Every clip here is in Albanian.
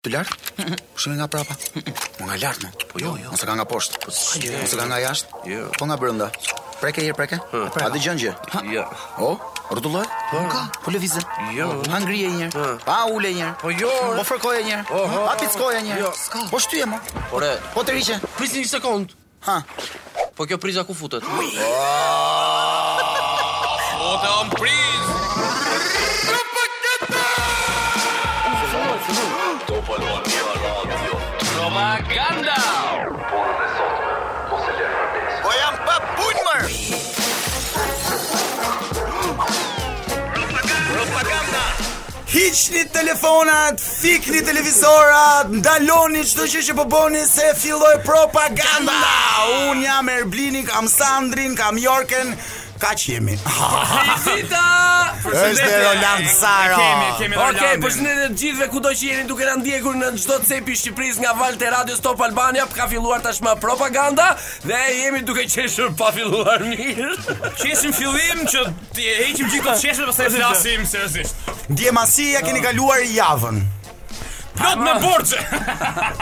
Të lartë? Pushimi nga prapa. Po nga lart, më. Po jo, jo. Ose ka nga poshtë. Po s'ka. Ose ka nga jashtë? Jo. Po nga brenda. Preke herë, preke. A dëgjon gjë? Ja. O, rrotullohet? Po ka. Po lëvizë. Jo. Ha ngrije një herë. Ha. Pa ule një herë. Po jo, re. Po fërkoje një herë. Oho. Pa pickoje një Jo. herë. Po shtyje më. Ore, Po të riqe. Prisni një sekond. Ha. po kjo priza ku futet? O të om priz Propaganda Po jam pa punmër. Hiqni telefonat, fikni televizorat, ndaloni çdo gjë që po bëni se filloi propaganda. Un jam Erblini, kam Sandrin, kam Jorken, kaq jemi. Vizita! Është Roland Saro. Kemi, kemi Ah, Okej, po okay, Rolandin. përshëndetje të gjithëve kudo që jeni duke na ndjekur në çdo cep i Shqipërisë nga valët e radios Top Albania, ka filluar tashmë propaganda dhe jemi duke qeshur pa filluar mirë. Qeshim fillim që t'i heqim gjithë Po. të qeshët pastaj flasim seriozisht. Ah. Ndje masi ja keni kaluar javën. Plot me borxhe.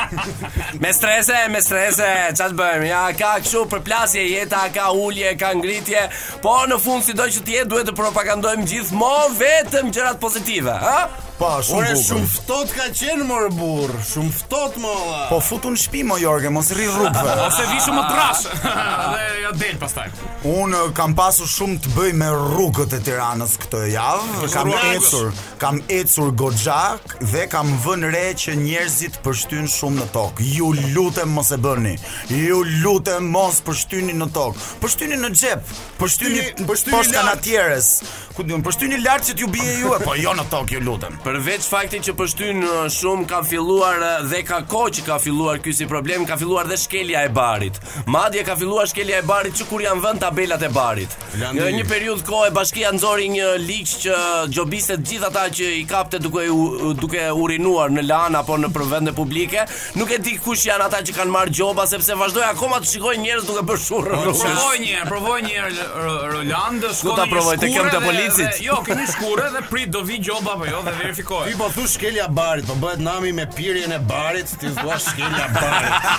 Me strese, me strese, çfarë bëjmë? Ja ka kështu përplasje jeta, ka ulje, ka ngritje, po në fund sido që të jetë duhet të propagandojmë gjithmonë vetëm gjërat pozitive, ha? Po, shumë bukur. ftot ka qenë mor burr, shumë ftot molla. Po futun në shtëpi mo Jorgen, mos rri rrugëve. Ose vi shumë trash. Dhe jo del pastaj. Un eh, kam pasur shumë të bëj me rrugët e Tiranës këtë javë. Kam rrugës. ecur, kam ecur goxhak dhe kam vënë re që njerëzit përshtynë shumë në tokë. Ju lutem mos e bëni. Ju lutem mos përshtyni në tokë. Përshtyni në xhep. Përshtyni përshtyni poshtë lart. kanatieres. Ku diun, përshtyni lart që t'ju bie ju, e, po jo në tokë, ju lutem. Përveç faktit që pështyn shumë ka filluar eh, dhe ka kohë që ka filluar ky si problem, ka filluar dhe shkelja e barit. Madje ka filluar shkelja e barit që kur janë vënë tabelat e barit. Landi. Në një periudhë kohë bashkia nxori një ligj që gjobiste të gjithë ata që i kapte duke u, duke urinuar në lan apo në përvende publike. Nuk e di kush janë ata që kanë marrë gjoba sepse vazhdoi akoma të shikojnë njerëz duke bërë shurrë. Po, në rrugë. Provoj një herë, provoj një herë R- Roland, shko Ku ta në një provoj, te shkurë kem te dhe- policit? dhe- Jo, ke një shkurë dhe prit do vi gjoba apo jo dhe verifikoj. Ti po thush shkelja barit, po bëhet nami me pirjen e barit, ti thua shkelja barit.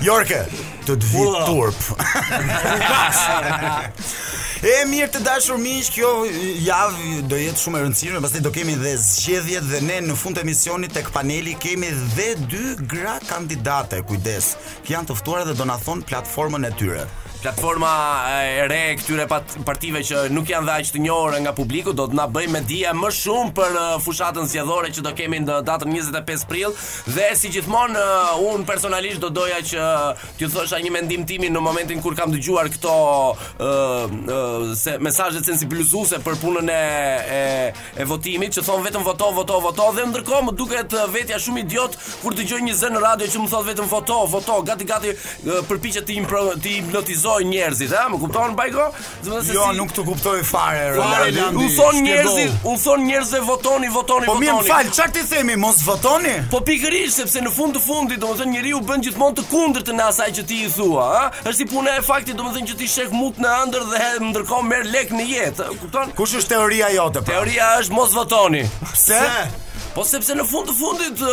Jorke, të të vi Ua. turp. e mirë të dashur miq, kjo javë do jetë shumë e rëndësishme, pastaj do kemi dhe zgjedhjet dhe ne në fund të emisionit tek paneli kemi dhe dy gra kandidate, kujdes, që janë të ftuara dhe do na thon platformën e tyre. Platforma e re e këtyre pat- partive që nuk janë dhe aq të njohura nga publiku do të na bëjë me dije më shumë për eh, fushatën zgjedhore që do kemi në datën 25 prill dhe si gjithmonë eh, unë personalisht do doja që t'ju thosha një mendim timin në momentin kur kam dëgjuar këto eh, eh, se mesazhe sensibilizuese për punën e, e e votimit që thon vetëm voto voto voto dhe ndërkohë më duket eh, vetja shumë idiot kur dëgjoj një zë në radio që më thot vetëm voto voto gati gati eh, përpiqet të impro- të hipnotizoj njerëzit, ha, më kupton Bajko? Do të thotë se Jo, si- nuk të kuptoj fare. Fare, Rolandi. Landi. Unë thon shkebo. njerëzit, unë thon njerëzve votoni, votoni, Po mirë, votoni. më fal, çfarë ti themi, mos votoni? Po pikërisht sepse në fund të fundit, domethënë njeriu bën gjithmonë të kundërtën e asaj që ti i thua, ha? Është si puna e faktit, domethënë që ti shek mut në ëndër dhe ndërkohë merr lek në jetë, ha, kupton? Kush është teoria jote? Pra? Teoria është mos votoni. Pse? Po sepse në fund të fundit ë,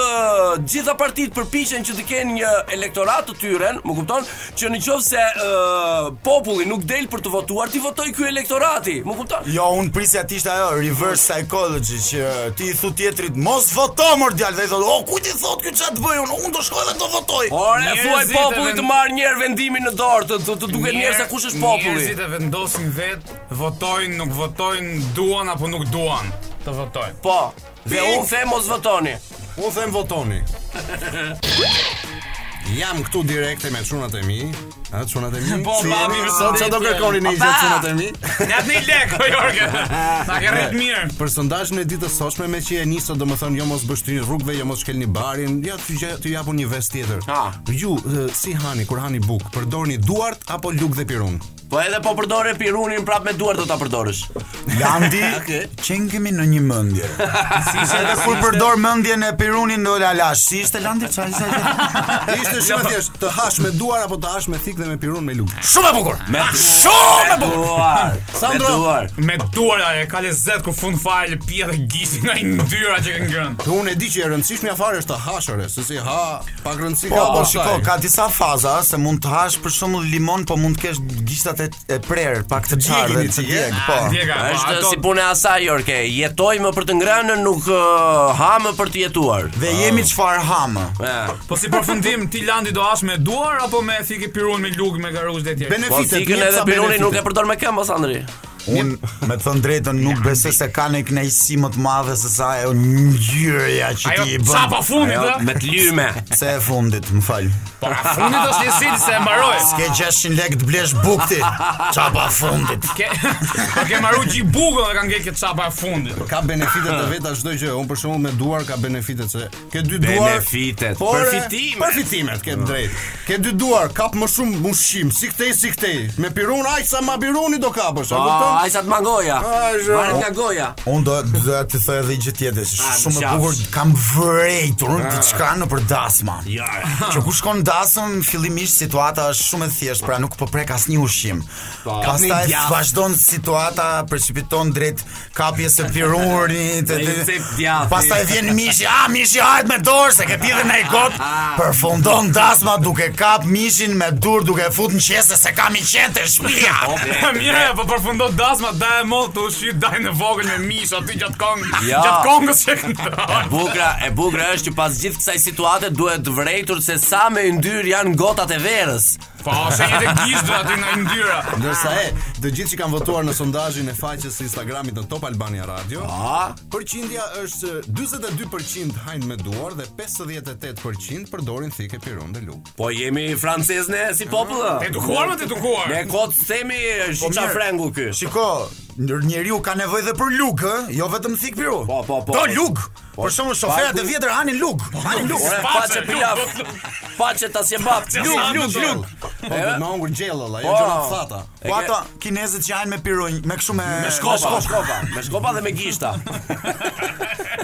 gjitha partitë përpiqen që të kenë një elektorat të tyren, më kupton, që në qoftë se ë, populli nuk del për të votuar, ti votoj ky elektorati, më kupton? Jo, unë prisja të ishte ajo reverse psychology që ti i thu tjetrit mos voto mor djalë dhe i thot, "O kujt i thot ky ç'a të bëj unë? Unë do shkoj dhe do votoj." Ore, Njerëzit thuaj e popullit vend- të marrë njerë vendimin në dorë, të, të, të duket Njer- njerë se kush është populli. Njerëzit e vendosin vet, votojnë, nuk votojnë, duan apo nuk duan të votojnë. Po, dhe unë them mos votoni. Unë them votoni. Jam këtu direkte me çunat e mi. A çunat e mi? Po, mami, sot çfarë do kërkoni në gjithë çunat e mi? Ne atë një lek, o Jo, Jorge. Na ke rrit mirë. Për sondazhin e ditës sotshme me që e nisë domethënë jo mos bështrin rrugëve, jo mos shkelni barin, ja t'ju gje- t'ju japun një vest tjetër. Ha. Ju e, si hani kur hani buk, përdorni duart apo lugë dhe pirun? Po edhe po përdore pirunin prap me duar do ta përdorësh. Landi, Okej. që kemi në një mendje. Si ishte edhe kur përdor mendjen e Pirunit do la lash. Si ishte Landi çfarë ishte? Ishte shumë e thjeshtë, të hash me duar apo të hash me thikë dhe me pirun me lugë. Shumë e bukur. Me shumë e bukur. Sandro, me duar. Me duara e ka lezet ku fund fare lëpia dhe gisi nga i ndyra që kanë ngrënë. Dhe unë e di që e rëndësishmja fare është të hashore, se si ha, pak rëndësi Po, ka po, pastaj. shiko, ka disa faza se mund të hash për shembull limon, po mund të kesh gishtat e, e prerë, pak të çarë dhe Djegini të që je. djeg, po. Djega, po, Është ato- si puna e asaj Jorke, jetoj më për të ngrënë, nuk uh, ha më për të jetuar. Dhe jemi çfarë hamë. Eh, Po si përfundim ti Landi do hash me duar apo me thiki pirun me lugë me garush dhe tjerë? Po Benefitet, sikën jep edhe ca piruni nuk e benefite. përdor me këmbë, o, Sandri. Un, me të thënë drejtën, nuk besoj se ka në kënaqësi më të madhe se sa ajo ngjyreja që Ajo ti i bën. çapa fundit Jo, ë? me të lyme. Se e fundit, më fal. Po a fundit është lesit se e mbaroi. S'ke 600 lekë të blesh bukti. Çapa fundit. Ke Po ke marru gjë bukën dhe ka ngel këtë çapa e fundit. Ka benefitet të veta çdo gjë. Unë për shembull me duar ka benefitet se ke dy duar. Benefitet, por, e, përfitimet. Përfitimet ke drejt. Ke dy duar, kap më shumë ushqim, si këtej si këtej. Me pirun aq sa ma piruni do kapësh, a Po, kupton? ai sa të mangoja. Ai, zhe. Varet nga goja. Unë do do të thoj edhe një gjë tjetër, Ah, shumë e qafsh. bukur, kam vërejtur diçka nëpër dasma. Ja. Që ku shkon dasëm, fillimisht situata është shumë e thjeshtë, pra nuk po prek asnjë ushqim. Po. Kapni Pastaj djathtë. vazhdon situata, përshqipiton drejt kapjes së pirunit. Dhe e- i cep djathtë. Pastaj vjen mishi, a mishi hajt me dorë se ke pidhën ai kot. Përfundon dasma duke kap mishin me dur, duke fut në qese se kam i qenë të shtëpia. Mire, po përfundon dasma, da e mollë të ushi, da e në vogël me mish, aty gjatë kongës, Ja. gjatë kongës që këndon. Bukra, e bukra është që pas gjithë kësaj situate duhet vërejtur se sa me yndyr janë gotat e verës. Po, se një të gjishtë aty nga i ndyra. Ndërsa e, të gjithë që kanë votuar në sondazhin e faqes së Instagramit në Top Albania Radio, përqindja është se 42% hajnë me duar dhe 58% përdorin thikë pirun dhe lugë. Po jemi francez ne si popull. Edukuar më të edukuar. Ne kot themi shiça mirë. po, frengu ky. Shiko, ndër njeriu ka nevojë edhe për lugë, ë, jo vetëm thik piru. Po, po, po. Do lugë. Për shembull, shoferët e vjetër hanin lugë. Hanin lugë. Ore Space, paçe luk, pilaf. luk, luk. Paçe ta si bab. Luk, luk, luk. Po, me hungër gjellë, ajo Po. gjëra thata. E Po ke- ato kinezët që janë me pirunj, me kështu me Me shkopa, me shkopa, me shkopa dhe me gishta.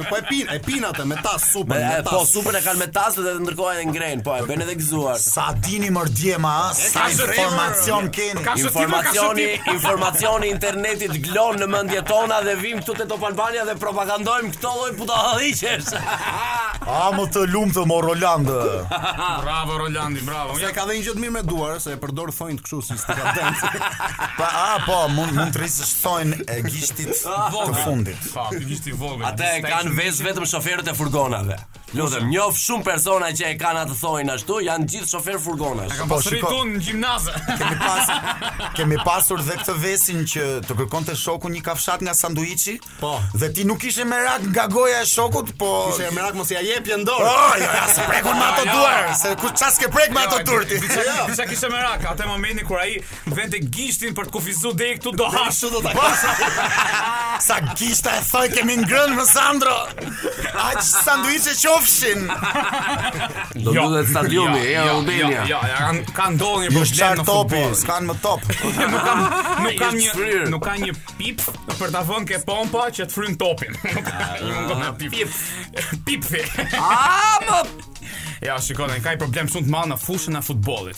Po e pin, e pin atë me tas supën, Me, me e, tas. po supën e kanë me tas dhe ndërkohë e ngrenë, po e bën edhe gëzuar. Sa dini mor djema, a, sa ka zërim, informacion keni. Ka shëtipa, ka Informacioni, shëtipa. informacioni i internetit glon në mendjet tona dhe vim këtu te Top Albania dhe propagandojmë këto lloj putahëllëqesh. A më të lumë të mor Roland. Bravo, Rolandi, po. bravo. Se ka dhe një gjë të mirë me duar, se e përdor thonjt kështu si s'ka dent. Pa, a, po, mund, mund të rrisësh thonjën e gishtit të fundit. Pa, ti ishte i vogël. Ate e kanë vesh vetëm shoferët e furgonave. Lutem, njoh shumë persona që e kanë atë thojnë ashtu, janë gjithë shofer furgonash. Kam Po, pasur shiko. në gjimnaze. Kemi pas kemi pasur dhe këtë vesin që të kërkonte shoku një kafshat nga sanduiçi. Po. Dhe ti nuk ishe merak nga goja e shokut, po Kishe e merak mos ja jepje në dorë. Oh, jo, ja, se prekun me Jo, ato jo. duar, se ku ças ke prek me ato durti. Disa disa kishte merak, atë momentin kur ai vente gishtin për të kufizuar deri këtu do hash. Ashtu do ta kisha. Po, Sa gishta e thoj kemi Po, ngrënë më Sandro. Aq sanduiçe qofshin. Do duhet stadiumi, e Albania. Jo, jo, kanë kanë ndodhur një Ju problem çar në topi, futboll. s'kan më top. Nuk kam nuk kam Ishtë fryrë. një nuk kam një pip për ta vënë ke pompa që të fryn topin. Nuk ka një mungon pip. Pip. Pip. A, më Ja, shikoni, ka një problem shumë të madh në fushën e futbollit.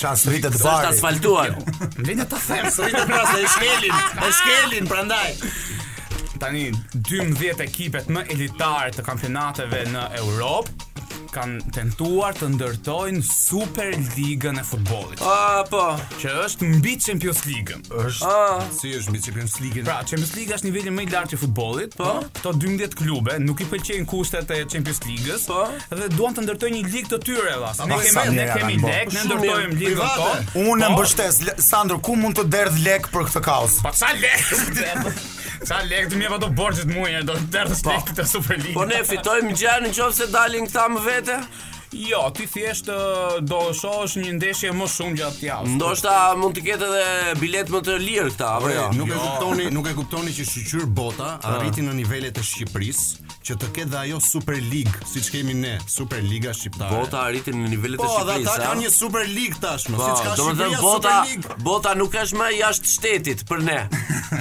Ças rritet është vari. asfaltuar. Jo. Lene ta them, sëri Të pra se e shkelin, e shkelin prandaj. tani 12 ekipet më elitare të kampionateve në Europë kanë tentuar të ndërtojnë Superligën e futbollit, A, po. që është mbi Champions League-ën. Ah. Si është mbi Champions League? Pra, Champions League është niveli më i lartë i futbollit, po këto 12 klube nuk i pëlqejnë kushtet e Champions League-s, Po. dhe duan të ndërtojnë një ligë të tyre valla. Ne sa kemi ne mira kemi kanë bërë. lek, ne Shumë mirë, ndërtojmë ligën private. tonë. Unë po, mbështes Le- Sandro, ku mund të derdh lek për këtë kaos? Po ça lek? Ça lek të mjeva do borxhet mua herë do të derdhës lek të Superligës. Po ne fitojmë gjë në qoftë se dalin këta më vete. Jo, ti thjesht ë, do shohësh një ndeshje më shumë gjatë javës. Ndoshta mund të ketë edhe bilet më të lirë këta, apo jo? Nuk e kuptoni, nuk e kuptoni që shqyr bota arriti në nivelet e Shqipërisë që të ketë dhe ajo Super League, siç kemi ne, Super Liga shqiptare. Bota arriti në nivellet Po, e dhe Shqipërisë. ata ha? kanë një Super League tashmë, Po, siç ka do të thënë Shqipëria bota, Super League. bota nuk është më jashtë shtetit për ne. Mm.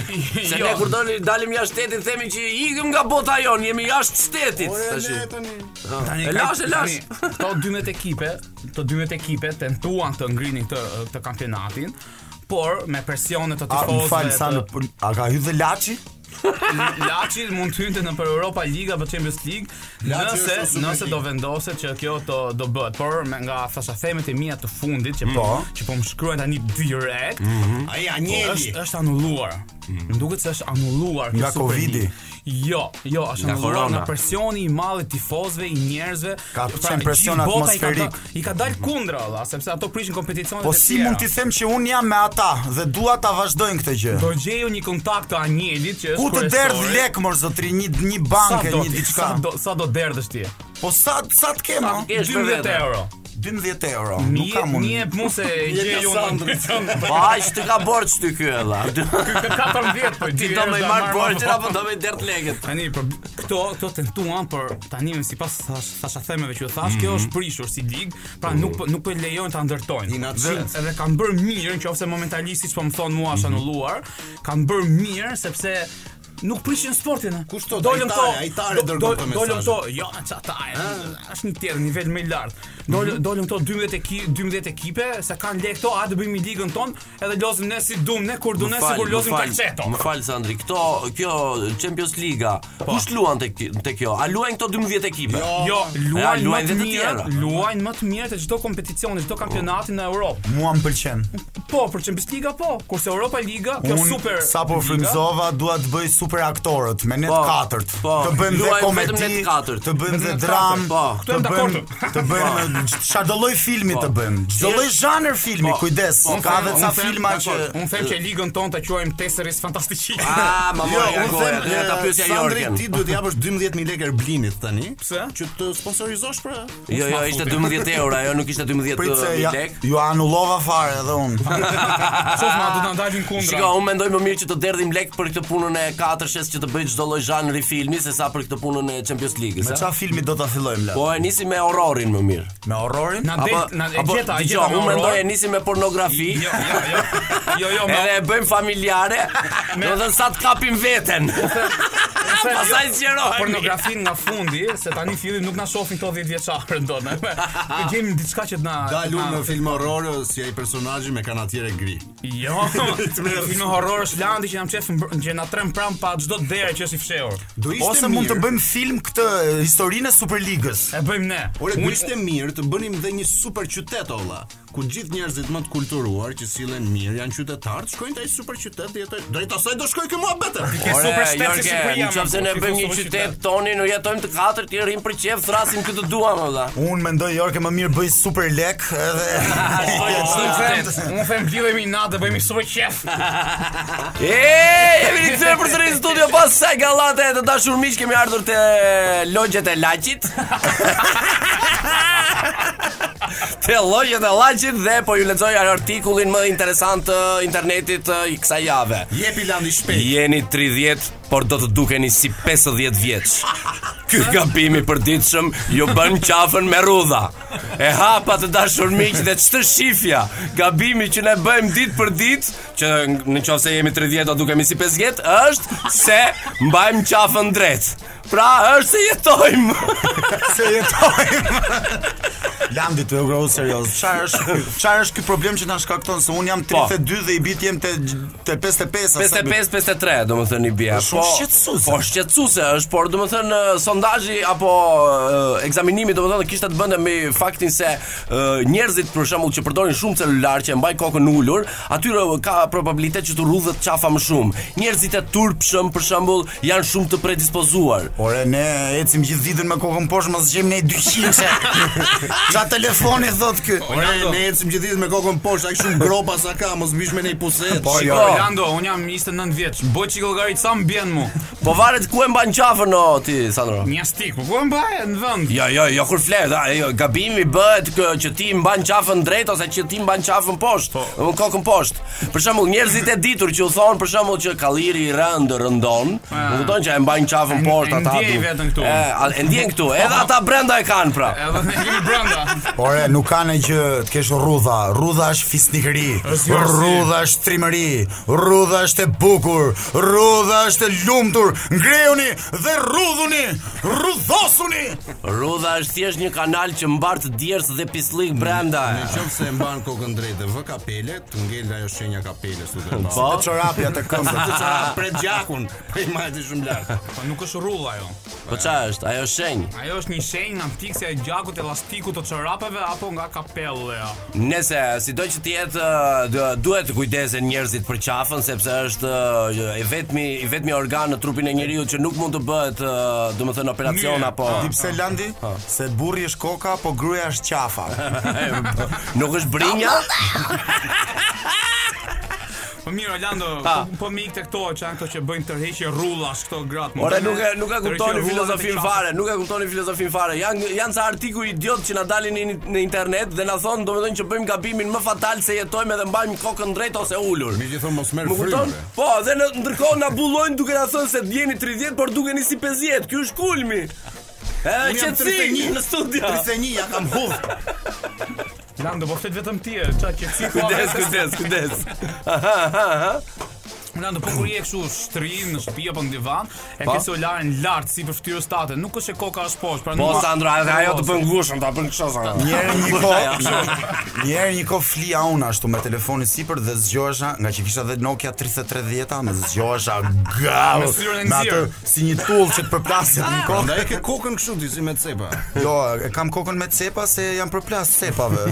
Jo, Se Jo. ne kur doli dalim jashtë shtetit themi që ikëm nga bota jon, jemi jashtë shtetit. Tash. Tani E ka- lash, e lash. tani, Këto 12 ekipe, këto 12 ekipe tentuan të ngrinin këtë këtë kampionatin, por me presione të A, më tifozëve. falë, sa në... të- A ka hyrë dhe Laçi? Laçi mund të hynte në për Europa Liga apo Champions League, Laçi është në nëse Super nëse League. do vendoset që kjo të do bëhet, por me nga thasathemet e mia të fundit që po, Mhm. që po më shkruajnë tani direkt, po Ai është është anulluar. Më duket se është anulluar kjo Mhm. Nga Super League. Covidi? Jo, jo, është Nga anulluar korona. nga presioni i madh i tifozëve, i njerëzve. Ka Pra, qenë presion gjithë bota i ka atmosferik. da- I ka dalë kundra valla, sepse ato prishin kompeticionet Po e si tjera. mund t'i them që unë jam me ata dhe dua ta vazhdojnë këtë gjë? Do gjeju një kontakt të Anjelit që është Ku të derdh kryesori. lek mor zotri, një një Sa bankë, do një ti, diçka. sa do sa do derdhësh ti? Po sa sa të kem? ha? kesh për 12 vete. euro. 12 euro. Mi Nuk kam mi e unë. mu se gjej unë. Po aq të ka borx ty ky ella. Jo, Ka 14 po Ti dy do herë më do marr marr borxhin mua. apo do më dert legët? Tani për këto këto tentuan por tani më sipas thash thasha themeve që ju thash, kjo Mhm. është prishur si lig, pra nuk po- nuk po e lejojnë ta ndërtojnë. Inatçit. Dhe- Edhe kanë bërë mirë, nëse momentalisht siç po më thon mua është Mhm. anulluar, kanë bërë mirë sepse nuk prishin sportin. e. Kush thot? Dolën Ajtare, këto- ajtare do- dërgon do- këto Dolën mesazhe. Ah. këto jo çatare. Është një tjetër nivel më i lartë. Mhm. Dolën dolën këto 12 ekipe, 12 ekipe, se kanë le këto, a do bëjmë ligën ton, edhe lozim ne si dum, ne kur dum, ne sikur lozim kalçeto. Më fal Sandri, këto kjo Champions Liga, kush luan tek tek kjo? A luajnë këto 12 ekipe? Po. Jo, Ja, luajnë më Ah, luajnë të dhe të mirë, tjera. luajnë më të mirë të çdo kompeticioni, çdo kampionati në Europë. Mua më pëlqen. Po, për Champions Liga po, kurse Europa Liga, kjo super sa po liga, frymzova dua të bëj super aktorët me net Po, katërt. po, të bëjmë dhe luajmë vetëm komedi, net katërt. të bëjmë dhe net dram, katërt, po, të këtu jam bëjmë dakord. të bëjmë çfarë lloj filmi të bëjmë. Çdo lloj zhanër filmi, kujdes, unë ka them- edhe unë ca Po, them- filma që dakor, unë them që ligën tonë ta quajmë Tesseris Fantasticik. Ah, ma Jo, mori nga unë goja, them, ne ta eh, pyesja Sandri, Jorgen. ti duhet të japësh 12000 lekë Erblinit tani, Pse? që të sponsorizosh pra. Jo, jo, ishte 12 euro, ajo nuk ishte 12 prit se uh, ja, lek. ju anullova fare edhe unë. Shoh ma do ta ndalin kundra. Shiko, unë mendoj më mirë që të derdhim lek për këtë punën e katërshës që të bëjë çdo lloj zhanri filmi sesa për këtë punën e Champions League-s. Me a? çfarë filmi do ta fillojmë la? Po e nisi me horrorin më mirë. Me horrorin? Na del, na e gjeta, e dëgjo, gjeta. me unë mendoj horror. e nisi me pornografi. Jo, jo, jo. Jo, jo, ma. Edhe e bëjmë familjare, do të thënë sa të kapim veten. them, Pastaj jo, zgjerohemi. Pornografin nga fundi, se tani fillim nuk na shohin këto 10 vjeçarë ndonë. Gjejmë diçka që të na Dalun na- në film horror si ai personazhi me kanatiere gri. Jo, filmi horror është landi që jam qef mbr- që na trem pram pa çdo derë që është i fshehur. Do ishte Ose mund të mirë- bëjmë film këtë e, historinë e Superligës. E bëjmë ne. Ore, do ishte mirë të bënim dhe një super qytet olla, ku gjithë njerëzit më të kulturuar që sillen mirë janë qytetarë, shkojnë te ai super qytet dhe jetojnë. Drejt asaj do shkoj këmu abetë. Ke super shtet si Jorge, Shqipëria. në qoftë se ne bëjmë një qytet toni, ne jetojmë të katërt, i rrim për qef, thrasim këtë duam olla. Unë mendoj Jorke më mirë bëj super lek edhe Unë them lidhemi natë dhe bëjmë super qef. E, jemi rikthyer përsëri në studio pas saj gallate të dashur miq, kemi ardhur te eh, logjet e Laçit. te logjet e Laçit dhe po ju lexoj artikullin më interesant të internetit të kësaj jave. Jepi landi shpejt. Jeni 30, por do të dukeni si 50 vjeç. Ky gabim i përditshëm ju bën qafën me rrudha. E hapa të dashur miq dhe ç'të shifja. Gabimi që ne bëjmë ditë për ditë, që në qoftë se jemi 30 do dukemi si 50, është se mbajmë qafën drejt. Pra është se jetojmë. se jetojmë. Landi të grohu serioz. Çfarë është çfarë është ky problem që na shkakton se un jam 32 dhe i bit jem te te 55 ose 55 53 domethënë i bie. Është shumë shqetësuese. Po shqetësuese është, por domethënë eh, sondazhi apo eh, ekzaminimi domethënë kishte të bënte me faktin se eh, njerëzit për shembull që përdorin shumë celular që e mbajnë kokën ulur, atyre ka probabilitet që të rrudhet qafa më shumë. Njerëzit e turpshëm për shembull janë shumë të predispozuar. Ore ne ecim gjithë ditën me kokën poshtë mos gjejmë ne 200. Çfarë Sa telefoni thot ky? Ora ne ecim gjithë ditën me kokën poshtë, aq shumë gropa sa ka, mos mbish me nej puset. Po, jo. Orlando, un jam 29 vjeç. Bëj çik llogarit sa mbien mu. Po varet ku e mban qafën o ti Sandro. Një stik, po ku e mbaj në vend? Jo, jo, jo kur flet, a, jo, gabimi bëhet kë, që ti mban qafën drejt ose që ti mban qafën poshtë, po. kokën poshtë. Për shembull, njerëzit e ditur që u thon për shembull që kalliri i rënd rëndon, u kupton që e mbajnë E- qafën poshtë e ata. ndjej du- vetën këtu. E, a- e ndjen këtu, edhe ata brenda e kanë pra. Edhe ne kemi brenda. Ore, nuk ka në gjë të kesh rrudha. Rrudha është fisnikëri, Është gjërësi. rrudha është trimëri, rrudha është e bukur, rrudha është e lumtur. Ngrehuni dhe rrudhuni, rrudhosuni. Rudha është thjesht një kanal që mbart djers dhe pislik brenda. Në qoftë se e mban kokën drejtë vë kapele, të ngel ajo shenja kapeles u të Po. Po, Çorapja të këmbës. të ça pret gjakun, prej majti shumë lart. Po nuk është rrull ajo. Po qa është? Ajo shenjë. Ajo është një shenjë nga mtiksja e gjakut, elastikut të çorapeve apo nga kapellja. Nëse sido që të jetë ë, dë- duhet të kujdesen njerëzit për qafën sepse është ë, i vetmi i vetmi organ në trupin e njeriu që nuk mund të bëhet ë, domethënë operacion Mirë, apo Di Ah. pse Landi? Se burri është koka, po gruaja është qafa. nuk është brinja. Po mirë Orlando, Ha. po, po mi ikte këto që janë këto që bëjnë tërheqje rrullash këto gratë. Ora Mundane nuk e nuk e tërheqje kuptoni rrullat filozofin e fare, nuk e kuptoni filozofin fare. Jan janë sa artikuj idiot që na dalin në, në internet dhe na thonë domethënë që bëjmë gabimin më fatal se jetojmë edhe mbajmë kokën drejt ose ulur. Mi që thonë mos merr Më kupton? frymëve. Po, dhe në ndërkohë na bullojnë duke na thënë se jeni 30, por dukeni si 50. Ky është kulmi. Edhe Unë jam qetësi 31. në studio. 31 ja kam hudh. qafë. Orlando, po flet vetëm ti, çka që si ku Kujdes, kujdes, kujdes. Aha, aha, aha. Orlando, po kur je kështu shtrin në shtëpi apo në divan, e Po. ke solarin lart sipër fytyrës tate, nuk është e koka as poshtë, pra Po nuk. Sandra, edhe ajo të bën gushën, ta bën kështu Sandra. Njerë një ko Njerë një ko flia unë ashtu me telefonin sipër Dhe zgjohesha Nga që kisha dhe Nokia 3310 Me zgjohesha gau Me syrën e Me atë nxirë. Ah, si një tull që të përplaset në kokë Prandaj e ke kokën kështu ti si me cepa. Jo, e kam kokën me cepa se jam përplas cepave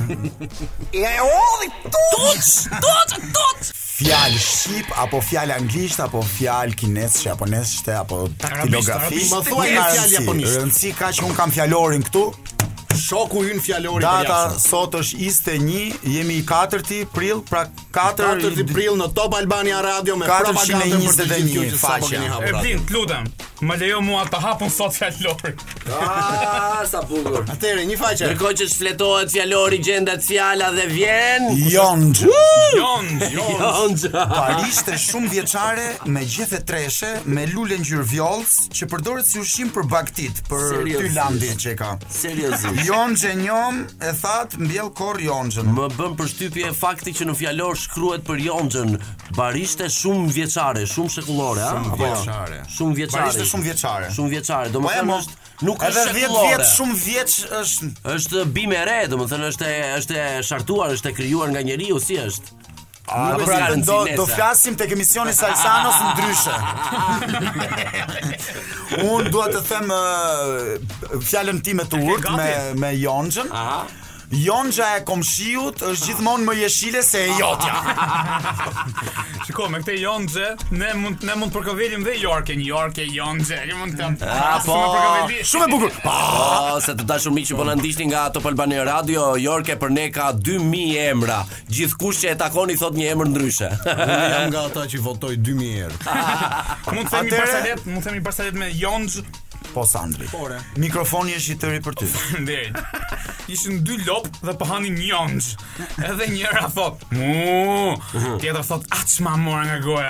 E odhi tuç, tuç, tuç. Fjalë shqip, apo fjalë anglisht, apo fjalë kinesisht, apo nesishte, apo taktilografi arabisht, thuaj një fjalë japonisht. Rëndësi ka që unë kam fjalorin këtu Shoku hyn fjalori për Data jashtë. sot është 21, jemi i 4 prill, pra 4 4 prill në Top Albania Radio me propagandën 421 për të gjithë ju që sapo faqe. keni E hapur. atë. blind, lutem. Më lejo mua ta hapun sot fjalor. Ah, sa bukur. Atëre, një faqe. Ndërkohë që shfletohet fjalori, gjendet fjala dhe vjen. Jonj Jon, Jo. jon. Parishte shumë vjeçare me gjethe treshe, me lule ngjyrvjollës që përdoret si ushqim për baktit, për Seriozisht? ty landi që ka. Seriozisht. Jonxhe njom e that mbjell korr jonxhën. Më bën përshtypje fakti që në fjalor shkruhet për Jonxhën barishte shumë vjeçare, shumë shekullore, a? Shumë Apo jo? vjeçare. Shumë vjeçare. Barishte shumë vjeçare. Shumë vjeçare, Po e domethënë mos. është nuk Edhe është 10 shekullore. vjet shumë vjeç është Është bimë e re, domethënë është e- është e shartuar, është e krijuar nga njeriu, si është? Apo si pra, ka rëndësi do, nese? do flasim tek emisioni Salsanos ndryshe. Unë dua të them ë, fjalën time të urt me me Jonxhën. Jonxha e komshiut është gjithmonë më jeshile se e jo. jotja. Shiko, me këtë jonxhe, ne mund ne mund të përkovelim dhe Yorkin, Yorke, jonxhe. Ne mund të Ah, po. Shumë e bukur. Pa, Po, se të dashur miq që po na ndiqni nga Top Albania Radio, Yorke për ne ka 2000 emra. Gjithkusht që e takoni thot një emër ndryshe. Unë jam nga ata që votoj 2000 herë. Mund të themi Atëre- barsalet, mund të themi barsalet me jonxh. po Sandri. Mikrofoni është i tëri për ty. Faleminderit. Ishin dy lop dhe po hanin jonx. Edhe njëra thot, "Mu." Tjetra thot, "Aç ma mora nga goja."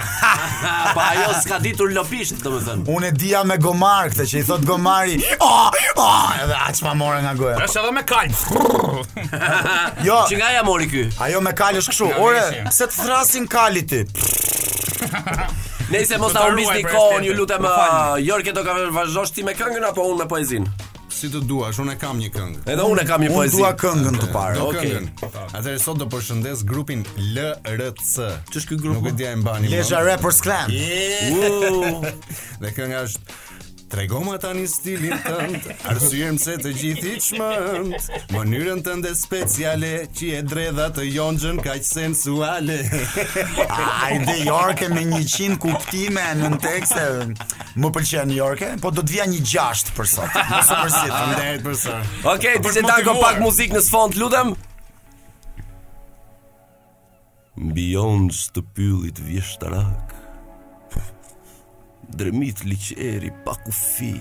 pa Po ajo s'ka ditur lopisht, domethënë. Unë e dija me gomar këtë që i thot gomari. Ah, ah, edhe aq ma mora nga goja. Është edhe me kalp. Jo, Që nga ja mori ky? ajo me kal është kështu. Ore, pse të thrasin kali ti? Nëse mos Do ta ta humbisni ruaj për kohën, estetin. ju lutem Më falni. uh, Jorke do ka vazhdosh ti me këngën apo unë me poezinë? Si të duash, unë e kam një këngë. Edhe unë e kam një Unë poezi. dua këngën të parë. Do Okej. këngën. Atëherë sot do përshëndes grupin LRC. Ç'është ky grup? Nuk e di ai mbani. më. Leja Rappers Clan. Yeah. Uu, Dhe kënga është Trego më tani stilin tënd, arsyen pse të gjithë i çmend, mënyrën tënde speciale që e dredha të jonxhën kaq sensuale. Ai dhe Yorke me 100 kuptime në tekste. Më pëlqen Yorke, po do të vija një 6 për sot. Mos u përsit. Faleminderit për sa. Okej, Për okay, të Tanko motivuar. pak muzikë në sfond, lutem. Beyond të pyllit vjeshtarak Dremit liqeri pa kufi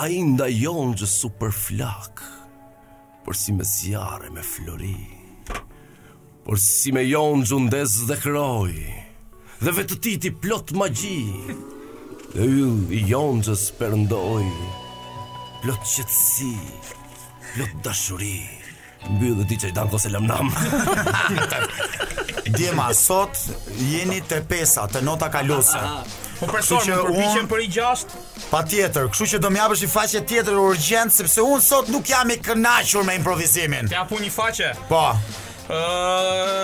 A i nda jonë gjë super flak Por si me zjare me flori Por si me jonë gjë ndes dhe kroj Dhe vetë ti ti plot magji Dhe yll i jonë gjës përndoj Plot qëtësi Plot dashuri Mbyllë dhe ti që i danë kose lamnam Djema, sot jeni te pesa, te nota kalose. Po person, Kështu që më përpiqem unë- për i gjashtë. Pa tjetër, kështu që do m'japësh i faqe tjetër urgjent, sepse unë sot nuk jam i kënaqur me improvizimin. Të japu një faqe. Po, Ë,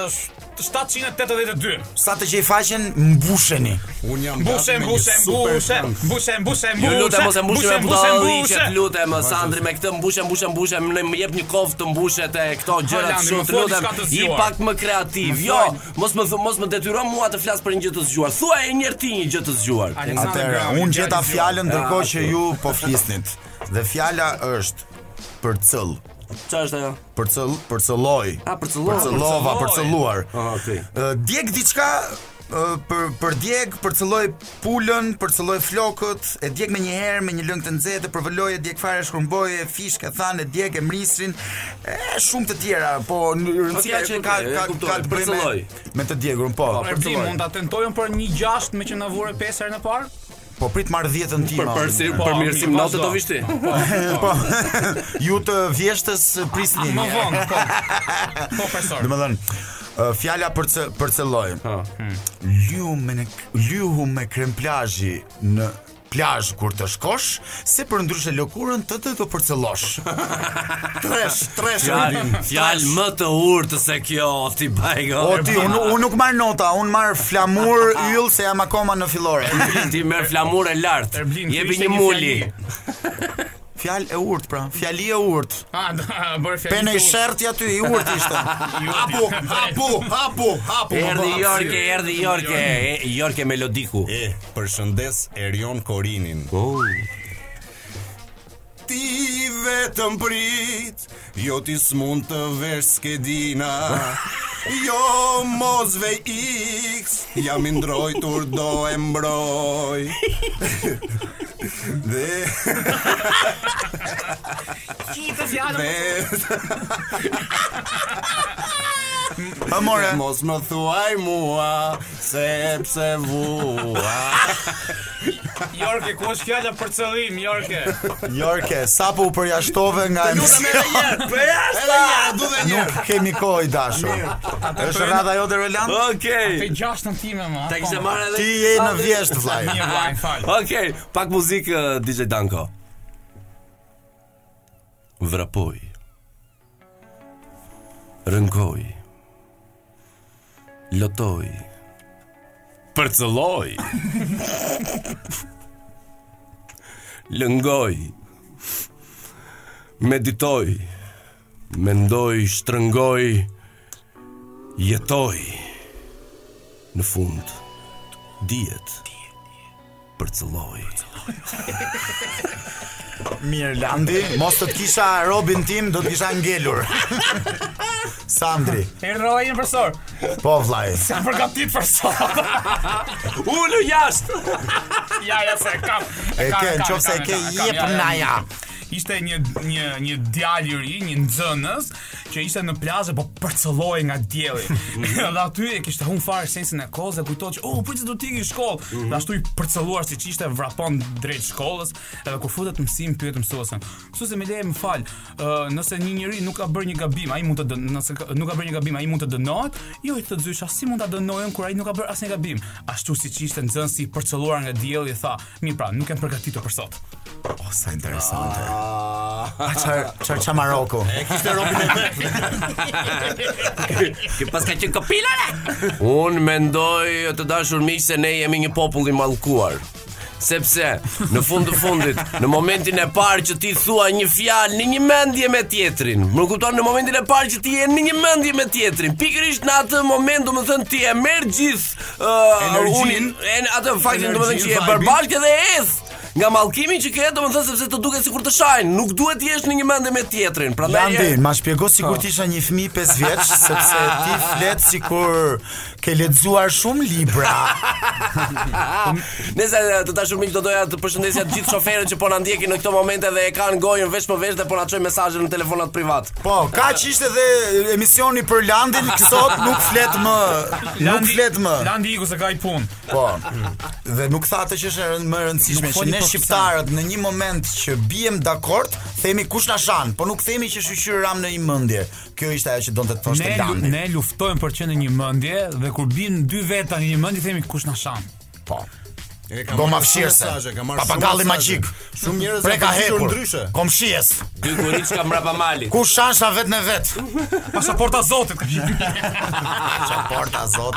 sh- 782. sa të që i faqen, mbusheni. Un jam Mbushe, mbushe, mbushe, mbushe, mbushe, Jo, mbushe. Ju Jo, lutem mos e mbushni mbushe, me mbushe. budalliqet, lutem Sandri me këtë mbushë, mbushë, mbushë, më më jep një kovë të mbushet e këto gjëra të Landi, më shumë, të thuaj lutem. diçka të I zgjuar. pak më kreativ. Jo, mos më thu- mos më detyro mua të flas për një gjë të zgjuar. Thuaj edhe një herë ti një gjë të zgjuar. Aleksandr Atëherë, Grami, unë djalë gjeta i zgjuar. fjalën ndërkohë Ah, që ju po flisnit. Dhe fjala është përcëll. Çfarë është ajo? Përcëll, përcëlloj. A përcëlloj. Përcëllova, përcëlluar. Ah, okay. Ë, Djeg diçka ë, për për djeg, përcëlloj pulën, përcëlloj flokët, e djeg me një herë me një lëngë të nxehtë, përvëlloj, e djeg fare shkrumboj, e fish ka thënë, e djeg e mrisrin, e shumë të tjera, po në rëndësia Okej, që e ka kuptoj, e ka kuptoj, ka të bëjë përcëlloj. me- me të djegun, po. Erdi, mund ta tentojmë për një gjashtë me që na vure 5 herë në parë? Po prit marr 10-ën time. Për si Po, për mirësim mirë, note vazhdo. do vish ti. Po, ju të vjeshtës Ah, prisni. Më vonë, po. Po, profesor. Do më thënë, ë, fjala për cë, për cëlloj. Lyu me ne, lyu me krem plazhi në plazh kur të shkosh, se për ndryshe lëkurën të të të përcëllosh. tresh, tresh. Erdim. Fjalë më të urtë se kjo, ti bajgo. O ti, unë unë nuk marr nota, unë marr flamur yll se jam akoma në fillore. Ti merr flamur e lartë. Erblin, ky Jepi ishte një një muli. fjali. Fjalë e urtë pra, fjali e urtë. Ah, da, bërë fjalë. Pene i sherti aty, i urtë ishte. Hapu, hapu, hapu, hapu. Erdi Jorke, erdi Jorke, e- Jorke melodiku. E, përshëndes Erion Korinin. Oh. Ti vetëm prit, jo ti s'mund të vesh skedina. Jo mozve x, jam i ndrojtur do e mbroj. Dhe Qitë fjalë. dhe Ë more. mos më thuaj mua sepse vua. Jorke, ku është fjala për cëllim, Jorke? Jorke, sapo u përjashtove nga Lutem edhe një herë. Për jashtë. Edhe një herë, duhet një herë. Nuk kemi kohë i dashur. Është rradha jote Roland? Te Okej. gjashtën time, ma. Ta kishe po. marrë edhe Ti je në vjesht vllai. Një vllaj, fal. Okej, pak muzikë uh, DJ Danko. Vrapoj. Rënkoj. Lotoj. Përcëlloj. Lëngoj. Meditoj. Mendoj, shtrëngoj. Jetoj. Në fund. Dihet përcëlloj. Mirë Landi, mos të të kisha robin tim, do të kisha ngelur. Sandri, Erdhë rojin profesor. po vllai. Sa përgatit profesor. Ulu jashtë. Ja, ja se kam. E kam, ke, kam, në qofë se kam, ke, kam, kam, jep ja, ja, na ja. ja. Ishte një një një djalë i ri, një nxënës që ishte në plazë po përcëlloi nga dielli. dhe aty e kishte humb fare sensin e kohës dhe kujtohet që oh, pritet do të ikë në shkollë. Dhe ashtu i përcëlluar siç ishte vrapon drejt shkollës, edhe kur futet në mësim pyet mësuesën. Mësuesi më leje më fal, ë, nëse një njeri nuk ka bërë një gabim, ai mund të dë, nëse ka- nuk ka bërë një gabim, ai mund të dënohet? Jo, i thotë zysha, si mund ta dënohen kur ai nuk ka bërë asnjë gabim? Ashtu siç ishte nxënësi i përcëlluar nga dielli tha, "Mirë pra, nuk jam përgatitur për sot." O, sa interesante. Qar, qar qa Maroko. Kë pas ka qenë kopilare. Unë mendoj të dashur miq se ne jemi një popull i mallkuar. sepse në fund të fundit, në momentin e parë që ti thua një fjalë në një mendje me tjetrin, më kupton në momentin e parë që ti je në një mendje me tjetrin, pikërisht në atë moment domethënë ti e merr gjithë uh, Energjinë, unin, en, atë faktin energjinë, domethënë që je vibe-in. bashkë dhe eth nga mallkimi që ke domethënë sepse të duket sikur të shajnë, nuk duhet të jesh në një mendje me tjetrin. Prandaj Landi, ma shpjego si kur t'isha një fmi 5 vjeç, sepse ti flet si kur ke lexuar shumë libra. Nëse të dashur miq do doja të përshëndesja të gjithë shoferët që po na ndjekin në këto momente dhe e kanë gojën vesh për vesh dhe po na çojnë mesazhe në telefonat privat. Po, kaq ishte dhe emisioni për Landin, sot nuk flet më. Nuk flet më. Landi iku se ka i punë. Po. Dhe nuk tha atë që është e rënd- më e rëndësishme Nuk që foli ne për shqiptarët në një moment që bijem dakord, themi kush na shan, po nuk themi që shqyqyr ram në një mendje. Kjo ishte ajo që donte të thoshte Ne lu- Po Landi. ne luftojmë për qenë në një mendje dhe kur bin dy veta në një mendje themi kush na shan. Po. E ka Goma marrë shumë fshirse. mesazhe, ka marrë Papagalli shumë mesazhe. magjik. Shumë njerëz Pre ka kanë përgjigjur hepur. ndryshe. Komshies. Dy kuriçka mbrapa malit. Ku shansha vetë në vetë. Pasaporta Zotit. Çaporta zot.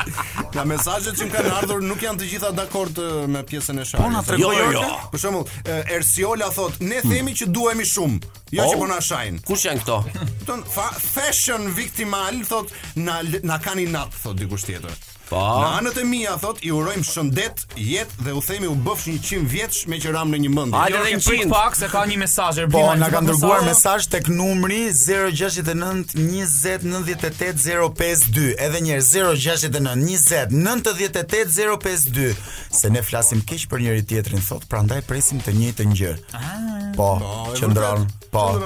Nga mesazhet që më kanë ardhur nuk janë të gjitha dakord eh, me pjesën e Sharit. Po, na Hmm. tregoj Jo, jo, Olga. jo. Për shembull, eh, Ersiola thot, ne themi që duhemi shumë, jo Oh. që po na shajnë. Kush janë këto? Kupton, fa- fashion victimal thot, na l- na kanë inat thot dikush tjetër. Po. Në anët e mia thot, i urojmë shëndet, jetë dhe u themi u bëfsh 100 vjeç me që ram në një mendje. Hajde Edhe edhe një një Jo, prit qind. pak se ka një mesazh Erbil. Po, na i na ka ka dërguar mesazhe. mesazh tek numri 069 20 98 052. Edhe një herë 069 20 98 052. Se ne flasim keq për njëri tjetrin thot, prandaj presim të njëjtën gjë. Po, e qëndron. vërtet. Po.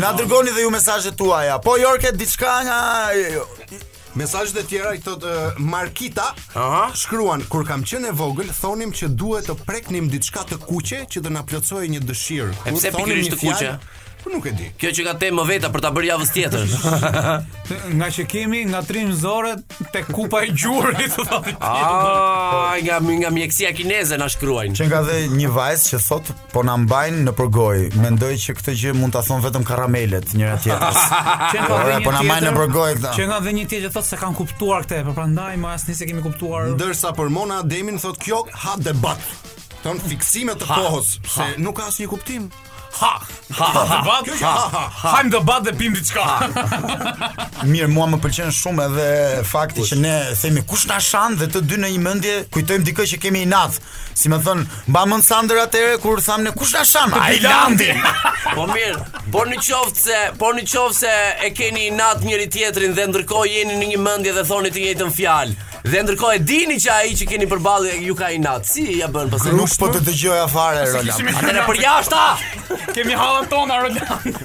Na dërgoni dhe ju mesazhet tuaja. Po Jorke diçka nga Mesazhet e tjera i thot eh, Markita shkruan kur kam qenë e vogël thonim që duhet të preknim diçka të kuqe që të na plotësojë një dëshirë. E pse thonim pikërisht një të kuqe? fjalë, Po nuk e di. Kjo që ka temë më veta për ta bërë javës tjetër. Nga që kemi nga trim zore tek kupa e gjurit thotë. aty. Ah, nga nga mjekësia kineze na shkruajnë. që nga dhe një vajzë që thot po na mbajnë në përgoj. Mendoj që këtë gjë mund ta thon vetëm karamelet njëra tjetrës. Që nga Ore, dhe një po na majnë në tjetër- përgoj këta. Që nga dhe një tjetër që thotë se kanë kuptuar këtë, por prandaj më as nisë kemi kuptuar. Ndërsa për Mona Ademin thot kjo ha debat. Ton fiksime të kohës se nuk ka asnjë kuptim. Ha, ha, ha, Kjo që ha. ha ha. ha. Hajmë debat dhe pim diçka. Mirë, mua më pëlqen shumë edhe fakti që ne themi kush na shan dhe të dy në një mendje kujtojmë dikë që kemi inat. Si më thon, mba mend Sander atëre kur thamë ne kush na shan? Ai Landi. Po mirë, po në qoftë se, po në qoftë se e keni nat njëri tjetrin dhe ndërkohë jeni në një mendje dhe thoni të njëjtën fjalë. Dhe ndërkohë e dini që ai që keni përballë ju ka inat. Si ja bën pastaj? Nuk po të dëgjoja fare Roland. Atëre për jashta. Kemi hallat tona Roland.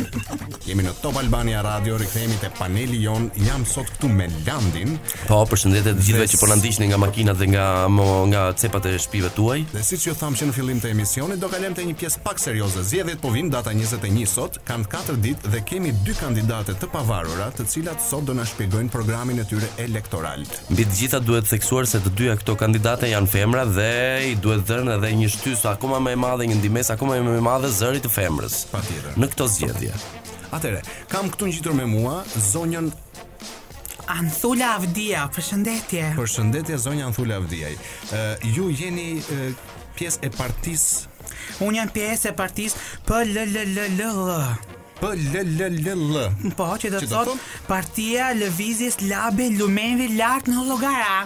Jemi në Top Albania Radio, rikthehemi te paneli jon. Jam sot këtu me Landin Po, përshëndetje të gjithëve që po na ndiqni nga makinat dhe nga mo- nga cepat e shtëpive tuaj. dhe siç ju tham që në fillim të emisionit do kalojmë te një pjesë pak serioze. Zgjedhjet po vijnë data 21 sot, kanë 4 ditë dhe kemi dy kandidate të pavarura, të cilat sot do na shpjegojnë programin e tyre elektoral. Mbi të gjitha duhet theksuar se të dyja këto kandidate janë femra dhe i duhet dhënë edhe një shtys akoma më e madhe, një ndimes akoma më e madhe zërit të femrës. Patjetër. Në këto zgjedhje. Atëre, kam këtu ngjitur me mua zonjën Anthula Avdia, përshëndetje. Përshëndetje zonja Anthula Avdiaj. Ë ju jeni ë, pjesë e partisë Unë jam pjesë e partisë PLLLL. PLLLL. Po, që do Që të do thotë thotë? Partia e Lëvizjes Labe Lumenve Lart në Llogara.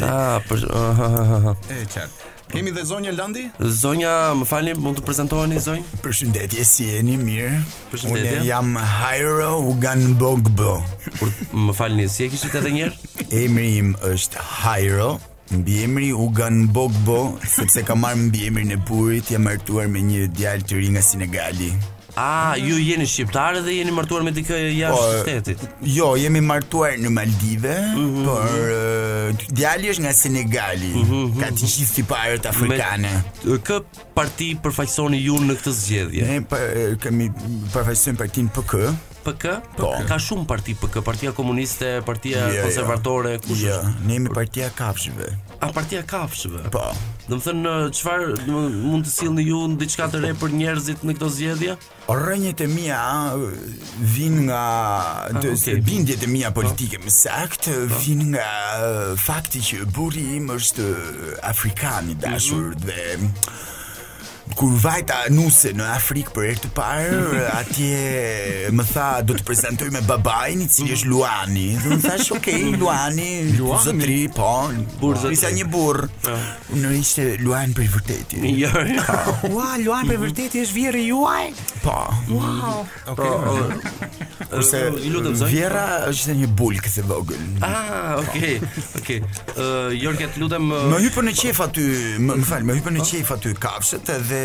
Ah, për uh, E qartë. Kemi dhe zonja Landi? zonja, më falni, mund të prezentoheni zonjë? Përshëndetje, si jeni mirë? Përshëndetje. Unë jam Hajro Uganbogbo. Kur më falni, si e kishit edhe një herë? Emri im është Hajro. Mbiemri Uganbogbo, sepse kam marrë mbiemrin e burrit, jam martuar me një djalë të ri nga Senegali. Ah, ju jeni shqiptarë dhe jeni martuar me dikë jashtë Po, shtetit. Jo, jemi martuar në Maldive, Mhm. por uh, djali është nga Senegali. mhm. Ka të gjithë tiparët afrikane. Kë parti përfaqësoni ju në këtë zgjedhje? Ne pa, e, kemi përfaqësojmë partinë PK. PK? Po. Ka shumë parti PK, Partia Komuniste, Partia Jo, jo. Konservatore, kush Jo, është? ne jemi partia kafshëve. A Partia Kafshëve. Po. Do të thënë ë, çfarë do më thënë, mund të sillni ju në diçka të re për njerëzit në këto zgjedhje? Rënjët e mia ë, vinë nga Ah, të, okay. bindjet e Ah. mia politike, më saktë, vinë nga ë, fakti që burri im është ë, afrikan i Mhm. dashur dhe kur vajta nuse në Afrikë për herë të parë, Mhm. atje më tha do të prezantoj me babain i cili Mhm. është Luani. Dhe më thash, "Okej, Luani, Luani, zotri, po, Burr zotri. Ah. Isha një burr. Unë ishte Luan për i vërtetit. Jo. Ua, Luan për vërtetë është vjerë juaj. Mhm. Po. Po. Kurse Kurse i lutem zoj. Vjera është një bulk se vogël. Ah, okay. Okay. Ë Jorge, të lutem ë, Më hypën në qef aty, më, më fal, më hypën në qef aty kafshët edhe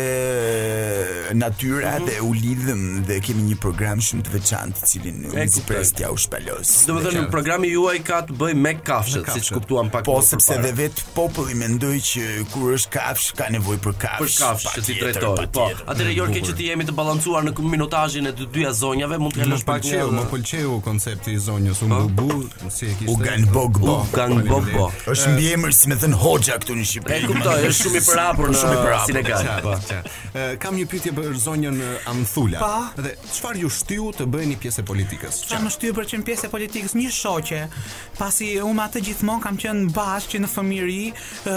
natyra Mhm. dhe u lidhëm dhe kemi një program shumë të veçantë, të cilin unë kuptoj. zbres t'ja u shpalos. Do të thënë programi juaj ka të bëj me kafshët, siç kuptuam pak. Po më sepse përpara. dhe vetë populli mendoj që kur është kafsh ka nevojë për kafsh. për kafsh që ti patjetër, drejtoj. Po, patjetër. atëherë Jorge që ti jemi të balancuar në minutazhin e të dyja zonjave, mund të Më kalosh pak pëlqeu, më pëlqeu koncepti i zonjës Umbubu, si e kishte. U gan bogbo. U gan bogbo. Është mbiemër si me thën hoxha këtu në Shqipëri. E kuptoj, është shumë i përhapur në Shumë i përhapur. Sinegal. Qa, po, qa. Ë, Kam një pyetje për zonjën ë, Amthula. Pa. Dhe çfarë ju shtiu të bëheni pjesë e politikës? Qa më shtyë për qenë pjesë e politikës një shoqe Pasi unë me atë gjithmonë kam qenë bashkë që në fëmiri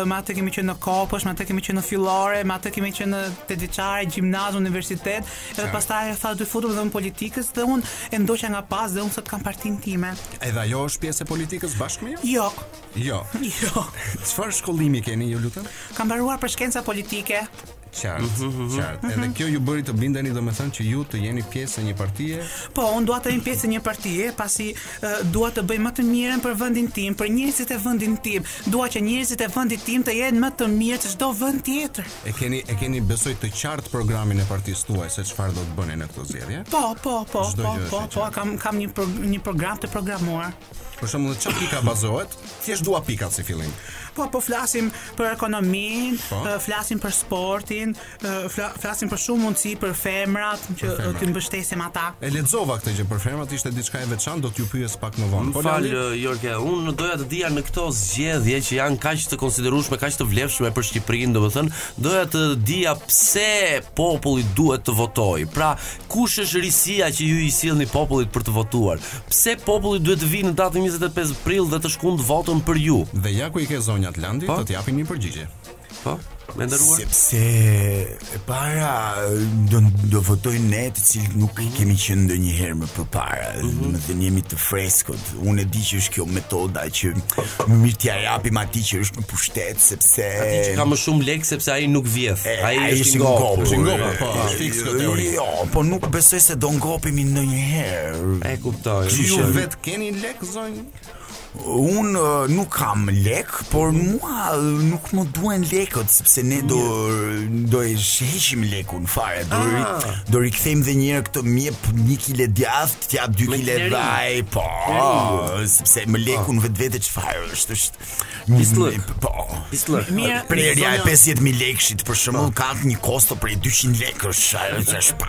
Me atë kemi qenë në kopësh, me atë kemi qenë në filore Me atë kemi qenë në të diqare, gjimnaz, universitet Edhe pastaj e tha dy futëm dhe në politikës Dhe unë e ndoqa nga pas dhe unë sot kam partin time Edhe ajo është pjesë e politikës bashkë me ju? Jo, Jo. jo Çfarë shkollimi keni ju lutem? Kam baruar për shkenca politike Qartë, qartë. Edhe kjo ju bëri të blindeni domethënë që ju të jeni pjesë e një partie. Po, unë dua të jem pjesë e një partie, pasi uh, dua të bëj më të mirën për vendin tim, për njerëzit e vendin tim. Dua që njerëzit e vendit tim të jenë më të mirë se çdo vend tjetër. E keni e keni besoj të qartë programin e partisë tuaj se çfarë do të bëni në këtë zgjedhje. Po, po, po, Çdo po, gjë është po, e qartë. po, kam kam një pro, një program të programuar. Për shembull, çfarë pika bazohet? Thjesht dua pikat si fillim. Po, po flasim për ekonominë, Po. eh, flasim për sportin, eh, fla, flasim për shumë mundësi për femrat që eh, femrat. të mbështesim ata. E lexova këtë gjë për femrat, ishte diçka e veçantë, do t'ju pyes pak më vonë. Po Më fal Jorge, unë doja të dija në këto zgjedhje që janë kaq të konsiderueshme, kaq të vlefshme për Shqipërinë, domethënë, doja të dija pse populli duhet të votojë. Pra, kush është risia që ju i sillni popullit për të votuar? Pse populli duhet të vinë në datën 25 prill dhe të shkundë votën për ju? Dhe ja ku i ke zonjat Landi, Po? do t'japim një përgjigje. Po? Me nderuar? Sepse e para do do votojnë ne të cilët nuk i kemi qenë ndonjëherë më përpara. Mhm. Do të thënë jemi të freskët. Unë e di që është kjo metoda që më mirë t'ja japim atij që është në pushtet sepse Ti që ka më shumë lek sepse ai nuk vjedh. E, Ai ai është i ngopur. Është i ngopur, po, është fiks kjo teori. Jo, po nuk besoj se do ngopemi ndonjëherë. E kuptoj. Ju Ju Ishe- vetë keni lek zonjë? Unë eh, nuk kam lek, por mua eh, nuk më duhen lekët sepse ne do do e sheqim lekun fare. Do ri, Ah. do rikthejmë dhe një herë këtë mjep 1 kg djathtë, t'jap 2 Me kg klerin. vaj, po, sepse me lekun Ah. vetvete çfarë është? Është Pislëk. Po. Pislëk. Mirë, Prerja e 50000 lekëshit për shembull Po. ka një kosto prej 200 lekësh, që është pa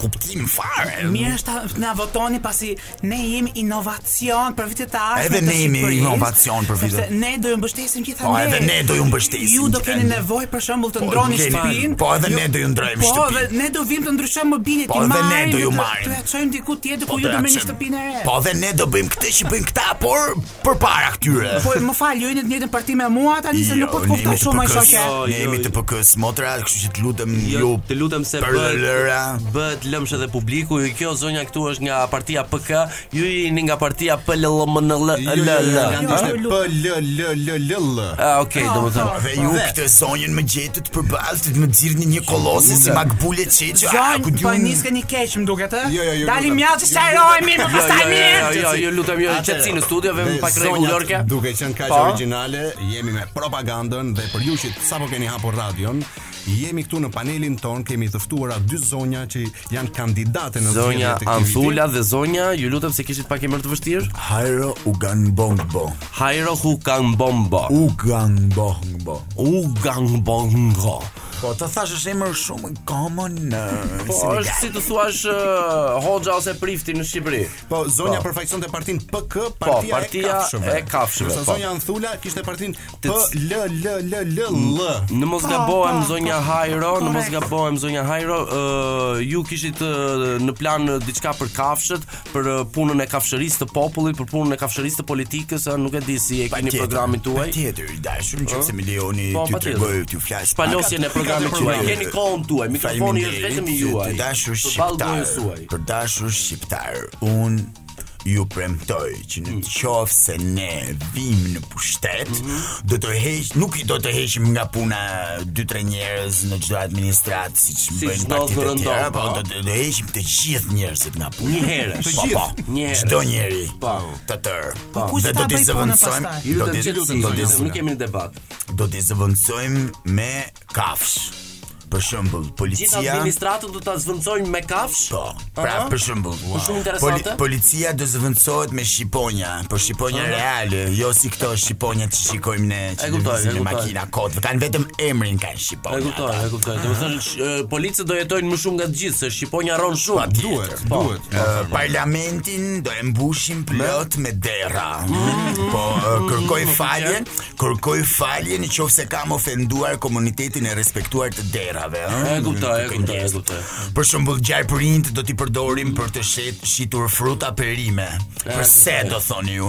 kuptim fare. Mirë është ta na votoni pasi ne jemi inovacion për vitet e ardhme. Edhe të ne jemi Shqipërisë, inovacion për vitet- sepse Ne do ju mbështesim gjithandej. Po, edhe ne do ju mbështesim Ju do keni gjithandej. nevojë për shembull të Po, ndroni keni- shtëpinë. po, edhe ne do ju ndrojmë Po, shtëpinë. edhe ne do vim të ndryshojmë mobiljet, Po, ti edhe ne marrim, do ju të- marrim. Të çojmë diku tjetër ku po ju do do ja merrni çojmë. shtëpinë e re. Po dhe ne do bëjmë këtë që bëjnë këta, por përpara këtyre. Po, më fal, ju jeni në të njëjtën parti me mua tani se nuk po të ne kuptoj jemi shumë ai PK-s, shoqe. Jo, Ne jo, jemi jo. të PK-s motra, kështu që të lutem ju. Jo, të lutem se përlëra. bëhet bëhet lëmsh edhe publiku. Ju kjo zonja këtu është nga partia PK, ju jeni nga partia Jo, PLLMNLL. Ishte P L L L L L. Ah, okay, domethënë. Dhe ju këtë zonjën më gjetët për baltët më xhirni një kolosë si Makbule Çeçi. Zonj, po niskeni keq më duket, ë? Jo, jo, jo, Dalim lutem. jashtë, çarojmë, Jo, po pastaj jo, mirë. jo, jo, ju lutem ju Atëherë, qetësi në studio, dhe vetëm pak zonjat, rregull Lorka. Duke qenë kaq Po. origjinale, jemi me propagandën dhe për ju që sapo keni hapur radion, jemi këtu në panelin ton, kemi të ftuara dy zonja që janë kandidate në Zonja zgjedhjet e këtij viti. Anthula dhe zonja, ju lutem se kishit pak emër të vështirë. Hajro u gan bombo. Hajro hu kan bombo. U gan bombo. U gang bongo. Po, të thash është emër shumë common në Po, është si të thuash ë, Hoxha ose Prifti në Shqipëri. Po, zonja Po. përfaqësonte partinë PK, Po, partia, partia e kafshëve. e kafshëve, Kurse po. zonja Anthula kishte partinë Të c- PLLLLL. Në mos Po, gabohem po, zonja po, Hajro, në mos korrekt. gabohem zonja Hajro, ë, ju kishit ë, në plan ë, diçka për kafshët, për ë, punën e kafshërisë të popullit, për punën e kafshërisë të politikës, ë, nuk e di si e keni programin tuaj. Tjetër, i dashur, nëse milioni Po, ti patjetër. tregoj ti flas. Spalosjen e programit tuaj. Keni kohën tuaj, mikrofoni është vetëm i juaj. Të dashur Përballë gojës shqiptar. suaj. Të dashur shqiptar, un ju premtoj që në qofë se ne vim në pushtet, Mhm. do të heq, nuk i do të heqim nga puna 2-3 njerëz në çdo administratë siç Si bëjnë çdo partitë e zërëndon, tjera, po po. do të do heqim të gjithë njerëzit nga puna. Një herë. Të Po, gjithë. po, një herë. Çdo njeri. Po. Të tërë. Po, kush Dhe ta do t'i bëj punën zëvendësojmë, pastaj? do Lutem t'i që lutem, do t'i lutem, nuk kemi në debat. do t'i zëvendësojmë me kafsh. Për shembull, Gjithë policia administratën do ta zvendësojnë me kafsh. Po, pra Aha. për shembull. Është shumë interesante. policia do zëvendësohet me shqiponja, po shqiponja reale, jo si këto shqiponja që shikojmë ne E që kuptoj, lëvizin e me kuptoj. makina kot, kanë vetëm emrin kanë E shqiponja. kuptoj, ata. e kuptoj. Do të thonë sh- ë, policët do jetojnë më shumë nga të gjithë, se shqiponja rron shumë. Po, Patjetër. Duhet, duhet. Ë, parlamentin do e mbushim plot me derra. Mm. Po ë, kërkoj falje, kërkoj falje në qoftë se kam ofenduar komunitetin e respektuar të derrave, ëh. E kuptoj, e kuptoj, e kuptoj. Për shembull gjarpërinjt do t'i përdorim për të shet shitur fruta perime. Përse do thoni ju?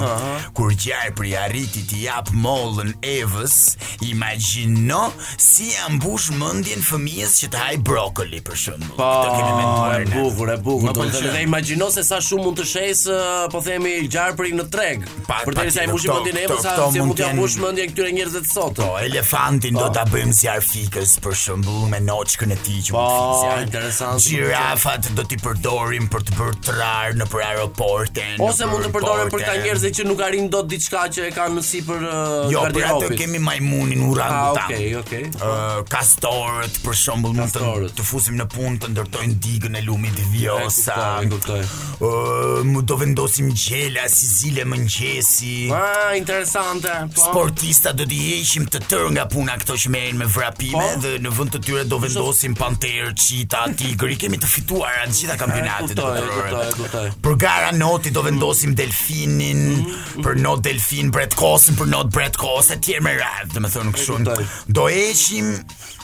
Kur gjarpri arriti t'i jap mollën Evës, imagjino si ja mbush mendjen fëmijës që të haj brokoli për shembull. Po, Këtë kemi menduar e ne. bukur, e bukur. Më Do të pëlqen. dhe imagjino se sa shumë mund të shesë, ë, po themi, gjarpëri në treg. Pa- Për të sa i patjetër, mbushim këto- mendjen e këto- Evës, sa këto si mund mund t'ia t'jenë- mbush mendjen këtyre njerëzve të sot. Po, elefantin do ta bëjmë zjarr fikës për shembull me noçkën e tij që Po, mund të zjarr. interesant. Girafat do t'i përdorim për të bërë trar në për aeroporte. në Ose mund të përdoren për ta porte. njerëzit që nuk arrin dot diçka që e kanë në sipër ë, Jo, për atë garderobit. kemi majmunin Ah, urangutan. okay, okay. Ë, kastorët për shembull mund të Kastorët. të fusim në punë të ndërtojnë digën e lumit Vjosa. E kuptoj, e Ë, mu do vendosim gjela si zile mëngjesi. Ah, interesante. Po. Sportista do t'i heqim të tërë nga puna këto që merren me vrapime Po. dhe në vend të tyre do vendosim panterë, çita, tigër. I kemi të fituar atë gjitha kampionatet. kuptoj, e botërore. kuptoj, e kuptoj. Për gara noti do vendosim delfinin, për not delfin bretkosën, për not bretkos e tjerë me radhë, dhe me thënë kështu. kuptoj. Do heqim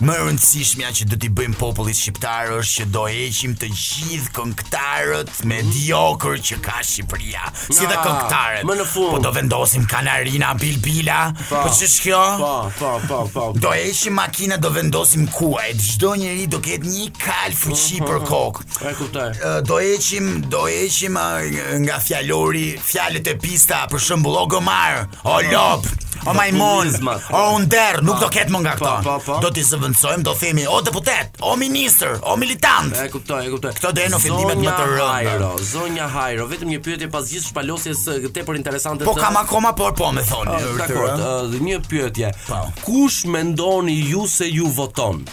më e rëndësishmja që do t'i bëjmë popullit shqiptar është që do heqim të gjithë këngëtarët me diokër që ka Shqipëria. Si dhe Mhm. Na, këngëtarët. më në fund. Po do vendosim kanarina bilbila. Po ç'është kjo? Po, po, po, po. Do heqim makina, do vendosim kuajt. Çdo njeri do ketë një kal fuqi për kokë. Mhm. E kuptoj. Ë, do heqim do heqim ë, nga fjalori fjalët e pista për shembull o gomar o lop o majmon populizmat. o under nuk do ketë më nga po, po. këto do t'i zëvendësojmë do themi o deputet o ministër o militant E kuptoj, e kuptoj. Këto do jenë ofendimet më të rënda. Zonja Hajro, zonja Hajro, vetëm një pyetje pas gjithë shpalosjes ë, tepër interesante po kam akoma por po me thoni Ë, Dakor, ë, një pyetje. Po. Kush mendoni ju se ju voton?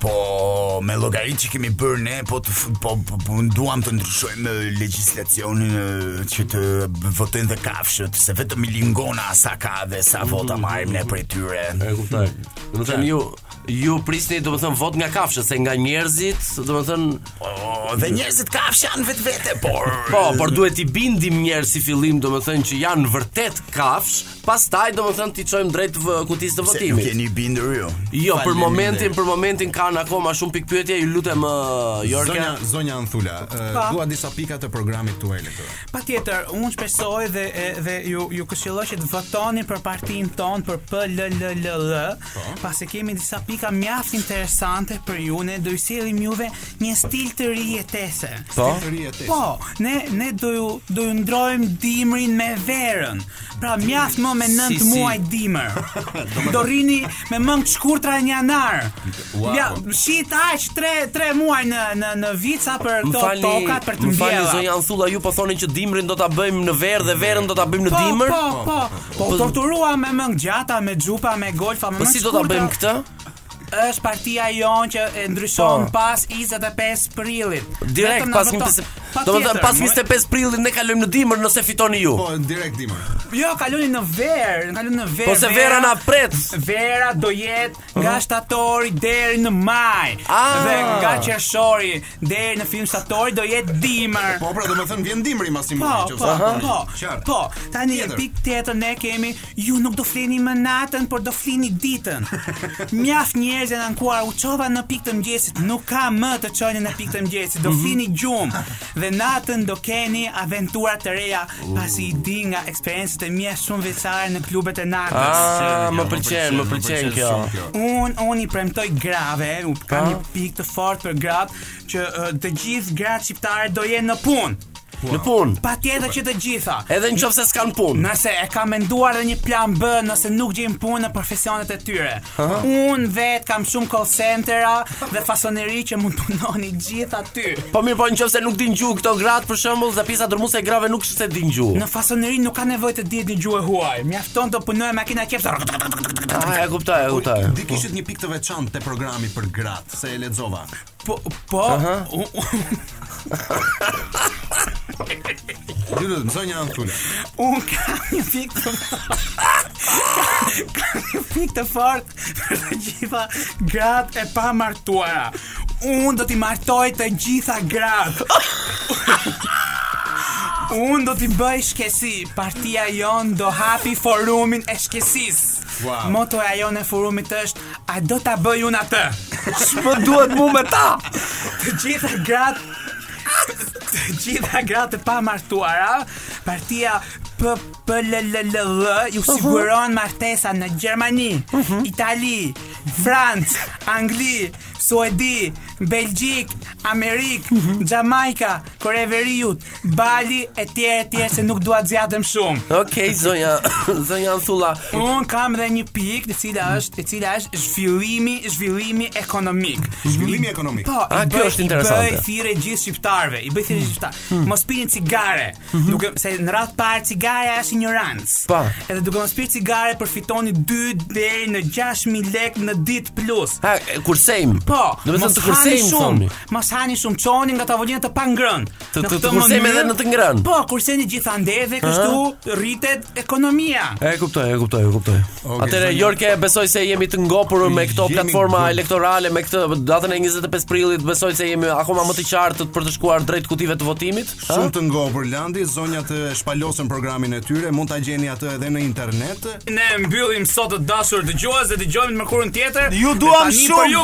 po me llogaritë që kemi bërë ne po të, f- po, po, po duam të ndryshojmë ë, legjislacionin ë, që të votojnë dhe kafshët se vetëm i lingona sa ka dhe sa vota marrim ne prej tyre E kuptoj. Hmm. Domethënë ju ju prisni domethënë vot nga kafshët, se nga njerëzit, domethënë Po, dhe njerëzit kafsh janë vetë vete, por... po, por duhet i bindim njerëz si fillim domethënë që janë vërtet kafsh, pastaj domethënë ti çojmë drejt vë- kutisë të po, Se nuk votimit. jeni bindur ju. Jo, për Faleminderit. momentin, për momentin kanë akoma shumë pikë pyetje, ju lutem ë, Jorka. Zonja, zonja Anthula, ë, dua disa pika të programit tuaj elektoral. Pa tjetër, unë shpesoj dhe, e- dhe ju, ju këshilloj që të votoni për partin tonë për PLLLL, Po. pasi kemi disa pika mjaft interesante për ju, ne do i sjellim juve një stil të ri jetese. Po. Po, ne, ne do ju, do ju ndrojmë dimrin me verën, pra mjaft më me Si, 9 si. muaj dimër. do rini me mëngë të shkurtra në janar. Wow. Ja, shit aq 3 3 muaj në në në vit sa për Më këto falni, tokat për të më falni mbjellur. zonja Anthulla, ju po thonin që dimrin do ta bëjmë në verë dhe verën do ta bëjmë në Po, dimër. Po, po, po. Po, Po torturua me mëngë gjata, me xhupa, me golfa, me Po mëngë si do ta shkurtra. bëjmë këtë? Është partia jonë që e ndryshon Po. pas 25 prillit. Direkt Vetëm na pas voto- 25 Domethënë Patjetër, pas mo- 25 prillit ne kalojmë në dimër nëse fitoni ju. Po, direkt dimër. Jo, kaloni në verë, kaloni në verë. Po se vera na pret. Vera do jetë nga shtatori deri në maj. Ah. Dhe nga qershori deri në film shtatori do jetë dimër. Po, pra, do të thënë vjen dimri mas i Po, mundi, po, po, Qartë. po, tani Tjetër. pik tjetër ne kemi, ju nuk do flini më natën, por do flini ditën. Mjaft njerëz janë ankuar, u çova në pikë të mëngjesit, nuk ka më të çoni në pikë të mëngjesit, Mhm. do flini gjumë dhe natën do keni aventura të reja, pasi i di nga eksperiencët e mia shumë veçare në klubet e natës. Ah, më pëlqen, më pëlqen kjo. shumë kjo. Un unë i premtoj grave, u Ah. kam një pikë të fortë për gratë që ë, të gjithë gratë shqiptare do jenë në punë. Në punë. Patjetër që të gjitha. Edhe nëse s'kan punë. Nëse e ka menduar dhe një plan B nëse nuk gjejnë punë në profesionet e tyre. Unë vetë kam shumë call centera dhe fasoneri që mund punoni gjithë aty. Po mirë, po nëse nuk din gjuhë këto gratë për shembull, dhe pjesa dërmuese e grave nuk është se din gjuhë. Në fasoneri nuk ka nevojë të dihet një gjuhë huaj. Mjafton të punoj me makina qepsh. Ah, e kuptoj, e kuptoj. Ti kishit një pikë të veçantë te programi për gratë, se e lexova. Po, po. u- u- Ju do të mësoj një antull. Unë kam një pikë të Kam një pikë të fort Për të gjitha gratë e pa martuara Unë do t'i martoj të gjitha gratë Unë do t'i bëj shkesi Partia jon do hapi forumin e shkesis Wow. Motoja jon e forumit është A do t'a bëj unë atë Ç'po duhet mu me ta? Të gjitha gratë të gjitha gratë e pa martuara, partia PPLLL ju siguron martesa në Gjermani, Itali, Francë, Angli, Suedi, Belgjik, Amerik, Jamaika, Kore e Veriut, Bali e tjerë e tjerë se nuk dua të zjatëm shumë. Okej, zonja, zonja Anthulla. Un kam dhe një pikë e cila është e cila është zhvillimi, zhvillimi ekonomik. Zhvillimi ekonomik. Po, A, i kjo bëj- është interesante. Hmm. I bëj thirrje gjithë shqiptarëve, i bëj thirrje gjithë shqiptarëve. Mos pini cigare, Mhm. duke se në radh parë cigare është ignorancë. Pa. Edhe duke mos pirë cigare përfitoni 2 deri në 6000 lekë në ditë plus. Ha, kursejm. Po, do të thonë mos të hani kursejm shumë, thomi. mos hani shumë çoni nga tavolinat të pangrën. Të- të- të kursejmë edhe në të ngrënë. Po, kurseni gjithandej dhe kështu rritet ekonomia. E kuptoj, e kuptoj, e kuptoj. Okay, Atëre zonja- Jorke, besoj se jemi të ngopur me këto Jemi platforma ngopur. elektorale, me këtë datën e 25 prillit, besoj se jemi akoma më të qartë për të shkuar drejt kutive të votimit. ha? Shumë të ngopur Landi, zonjat e shpalosën programin e tyre, mund ta gjeni atë edhe në internet. Ne mbyllim sot të dashur dëgjues dhe dëgjojmë të mërkurën tjetër. Ju duam Tani për shumë. ju